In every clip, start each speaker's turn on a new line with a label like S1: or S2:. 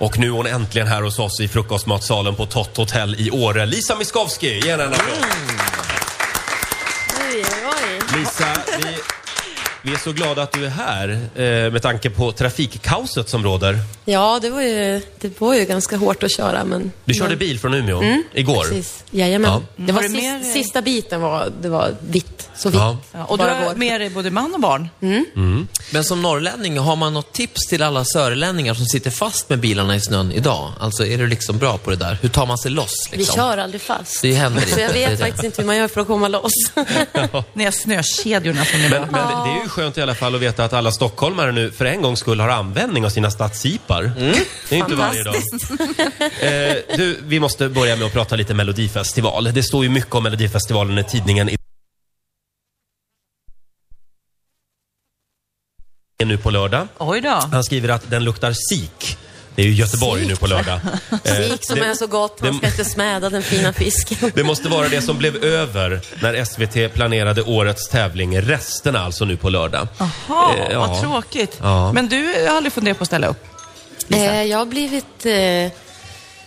S1: Och nu är hon äntligen här hos oss i frukostmatsalen på Tott Hotel i Åre. Lisa Miskovsky, ge henne en applåd.
S2: Oj, oj.
S1: Lisa, vi, vi är så glada att du är här eh, med tanke på trafikkaoset som råder.
S2: Ja, det var, ju, det var ju ganska hårt att köra, men...
S1: Du körde
S2: men,
S1: bil från Umeå igår.
S2: Precis. Jajamän.
S1: Ja.
S2: Det var
S3: Har du
S2: sist,
S3: med dig-
S2: sista biten var, det var vitt. Så vitt.
S1: Ja.
S3: Ja, och du
S2: Bara
S3: har
S2: går.
S3: med dig både man och barn.
S4: Men som norrlänning, har man något tips till alla sörlänningar som sitter fast med bilarna i snön idag? Alltså, är du liksom bra på det där? Hur tar man sig loss?
S2: Vi
S4: Liksom?
S2: kör aldrig fast.
S4: Det händer
S2: Så
S4: inte.
S2: jag
S4: Det är
S2: vet
S4: det.
S2: faktiskt inte hur man gör för att komma loss.
S1: Eh,
S3: Ni har snökedjorna som ni
S1: Men,
S3: men,
S1: men det, det är ju skönt i alla fall att veta att alla stockholmare nu för en gångs skull har användning av sina stadssipar. Det är inte varje dag. Eh, du, vi måste börja med att prata lite Melodifestival. Det står ju mycket om Melodifestivalen i tidningen. i- nu på lördag.
S3: Oj då.
S1: Han skriver att den luktar sik. Det är ju Göteborg nu på lördag. Eh,
S2: Sik som
S1: det-
S2: är så gott, man
S1: det-
S2: ska inte smäda den fina fisken.
S1: det måste vara det som blev över när SVT planerade årets tävling. Resterna alltså nu på lördag.
S3: Jaha,
S1: Eh, ja.
S3: vad tråkigt.
S1: Ja.
S3: Men du har aldrig funderat på att ställa upp?
S2: Eh, jag har blivit... Eh,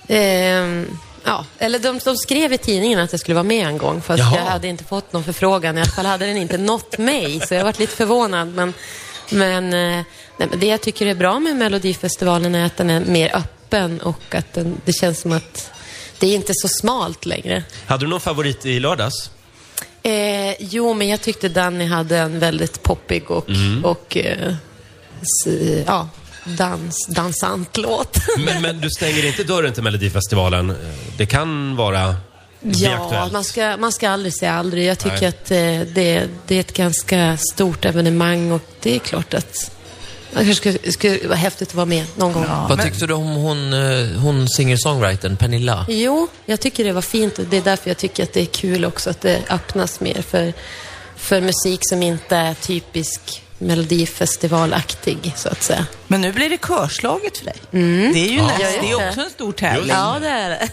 S2: ehm, ja, eller de, de skrev i tidningen att jag skulle vara med en gång, fast
S1: Jaha.
S2: jag hade inte fått någon förfrågan. I alla fall hade den inte nått mig, så jag varit lite förvånad. Men, men, eh, nej, men det jag tycker är bra med Melodifestivalen är att den är mer öppen och att den, det känns som att det är inte så smalt längre.
S1: Hade du någon favorit i lördags?
S2: Eh, jo, men jag tyckte Danny hade en väldigt poppig och, och eh, s- ja, dans, dansant låt.
S1: Men, men du stänger inte dörren till Melodifestivalen. Det kan vara... bli
S2: Ja,
S1: aktuellt.
S2: man ska, man ska aldrig säga aldrig. Jag tycker
S1: Nej.
S2: att eh, det, det är ett ganska stort evenemang och det är klart att man kanske skulle, skulle vara häftigt att vara med någon gång.
S4: Vad tyckte du om hon, eh, hon singer-songwritern, Pernilla?
S2: Jo, jag tycker det var fint och det är därför jag tycker att det är kul också att det öppnas mer för, för musik som inte är typisk melodifestivalaktig, så att säga.
S3: Men nu blir det körslaget för dig. Det är ju näst,
S2: Mm. Ja, just
S3: det är
S2: det.
S3: också en stor tävling.
S2: Ja, det är det.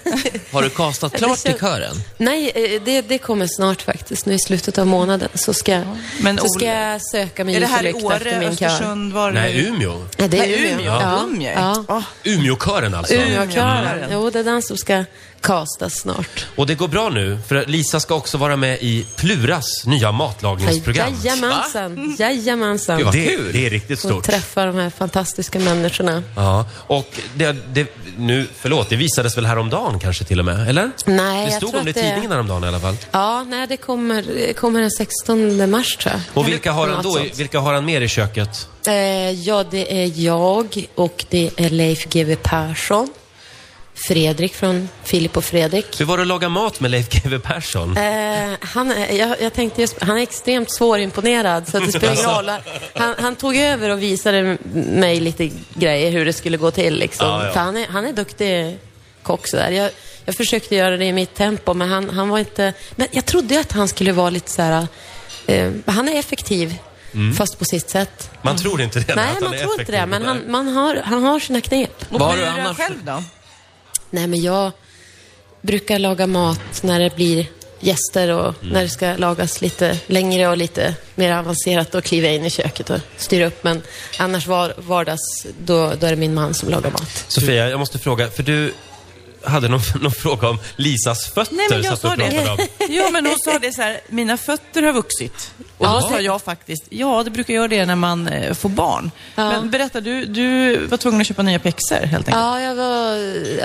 S4: Har du kastat klart
S2: kän-
S4: till kören?
S2: Nej, eh, det, det kommer snart faktiskt. Nu i slutet av månaden så ska,
S3: Men
S2: så ska
S3: Olle-
S2: jag söka mig
S3: Är det här i
S2: oförlyckt efter
S3: Åre,
S2: min kör.
S3: Östersund, var
S1: Nej, Umeå.
S2: Nej, det
S3: Nej,
S2: är Umeå.
S3: Umeå. Ja. Umeå.
S2: Ja.
S3: Åh,
S1: Umeåkören alltså.
S2: Umeåköraren.
S3: Mm.
S2: Jo, det är den som ska castas snart.
S1: Och det går bra nu, för Lisa ska också vara med i Pluras nya matlagningsprogram.
S2: Jajamensan. Jajamensan.
S1: alltså. Det, det är riktigt
S2: Och
S1: stort.
S2: träffa de här fantastiska människorna.
S1: Ja, och det, det, nu, förlåt, det visades väl häromdagen kanske till och med? Eller?
S2: Nej,
S1: det
S2: jag
S1: stod
S2: tror
S1: om det i
S2: att det-
S1: tidningen häromdagen i alla fall.
S2: Ja, nej, det kommer, kommer den 16 mars tror jag.
S1: Och vilka har han
S2: Något
S1: då? i-
S2: sånt.
S1: Vilka har han mer i köket?
S2: Eh, ja, det är jag och det är Leif GW Persson. Fredrik från Filip och Fredrik.
S1: Hur var det att laga mat med Leif GW Persson?
S2: Eh, han, är- jag, jag tänkte just, han är extremt svårimponerad, så att det spelar ingen roll. Han, han tog över och visade mig lite grejer hur det skulle gå till. Liksom.
S1: Ja, ja.
S2: För han, är, han är duktig kock. Så där. Jag, jag försökte göra det i mitt tempo, men han, han var inte... Men jag trodde att han skulle vara lite så här... Eh, han är effektiv, fast på sitt sätt.
S1: Man tror inte det.
S2: Nej,
S1: Mm. att han
S2: man
S1: är
S2: tror inte
S1: effektiv.
S2: det, men han, man har, han har sina knep.
S3: Och
S4: Vad har
S3: blir
S4: du
S3: du
S4: annars-
S3: själv då?
S2: Nej, men jag brukar laga mat när det blir gäster och när det ska lagas lite längre och lite mer avancerat. och kliva in i köket och styra upp. Men annars var, vardags, då, då är det min man som lagar mat.
S1: Sofia, jag måste fråga, för du hade någon, någon fråga om Lisas fötter.
S3: Nej, men jag
S1: satt du
S3: sa
S1: och pratade om.
S3: det. Jo, men hon sa det så här, mina fötter har vuxit. Och
S2: Ja,
S3: då sa
S2: det-
S3: jag faktiskt, ja det brukar göra det när man eh, får barn.
S2: Ja.
S3: Men berätta, du, du var tvungen att köpa nya pjäxor helt enkelt.
S2: Ja, jag var,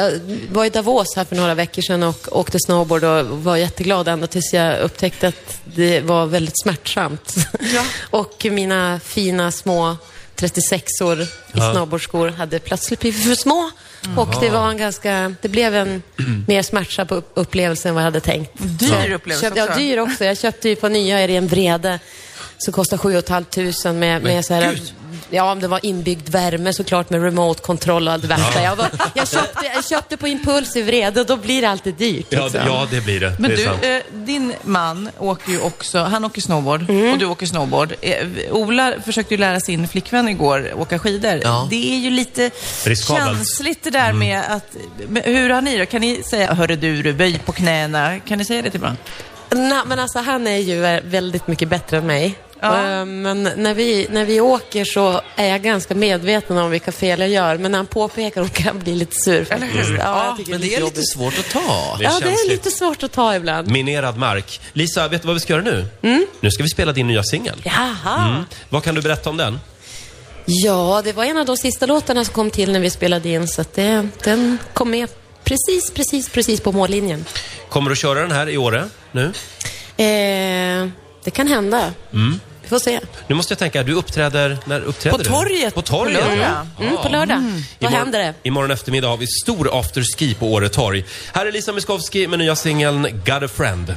S2: jag var i Davos här för några veckor sedan och åkte snowboard och var jätteglad ända tills jag upptäckte att det var väldigt smärtsamt. och mina fina små 36-or i
S1: Ja.
S2: snowboardskor hade plötsligt blivit för små. Och det var en ganska, det blev en
S3: Mm.
S2: mer smärtsam upp- upplevelse än vad jag hade tänkt.
S3: Dyr
S2: Jag
S3: upplevelse
S2: köpte- Ja,
S3: också.
S2: dyr också. Jag köpte ju på nya Irene Vrede som kostar 7 500 med,
S1: Men
S2: med så här,
S1: gud.
S2: Ja, om det var inbyggd värme såklart med remote-kontroll och allt det värsta. Jag, var, jag, köpte, jag köpte på impuls i vrede och då blir det alltid dyrt.
S1: Ja,
S2: Liksom.
S1: det- ja, det blir det.
S3: Men
S1: det är
S3: du,
S1: sant.
S3: eh, din man åker ju också, han åker snowboard och du åker snowboard. Eh, Ola försökte ju lära sin flickvän igår åka skidor.
S4: Ja.
S3: Det är ju lite
S1: Riskabelt. Mm.
S3: känsligt det där med att, men hur har ni då? Kan ni säga, hörru du, du, böj på knäna. Kan ni säga det till varandra?
S2: Nej, men alltså han är ju eh, väldigt mycket bättre än mig. Eh, Men när vi, när vi åker så är jag ganska medveten om vilka fel jag gör. Men när han påpekar hon kan bli lite sur faktiskt. Ja, jag tycker
S4: Men det är lite
S2: jobbigt.
S4: svårt att ta.
S1: Det är
S2: Ja, det är
S1: känsligt.
S2: lite svårt att ta ibland.
S1: Minerad mark. Lisa, vet du vad vi ska göra nu?
S3: Mm.
S1: Nu ska vi spela din nya singel.
S2: Jaha.
S1: Mm. Vad kan du berätta om den?
S2: Ja, det var en av de sista låtarna som kom till när vi spelade in. Så att det, den kom med precis, precis, precis på mållinjen.
S1: Kommer du köra den här i Åre nu?
S2: Eh, det kan hända. Vi får se.
S1: Nu måste jag tänka, du uppträder, när uppträder
S3: På
S1: du?
S3: torget
S1: På torget.
S3: på lördag.
S1: ja.
S2: Mm, på lördag. Vad
S1: Imorgon-
S2: händer det?
S1: Imorgon eftermiddag har vi stor afterski på Åre torg. Här är Lisa Miskovsky med nya singeln Got a friend.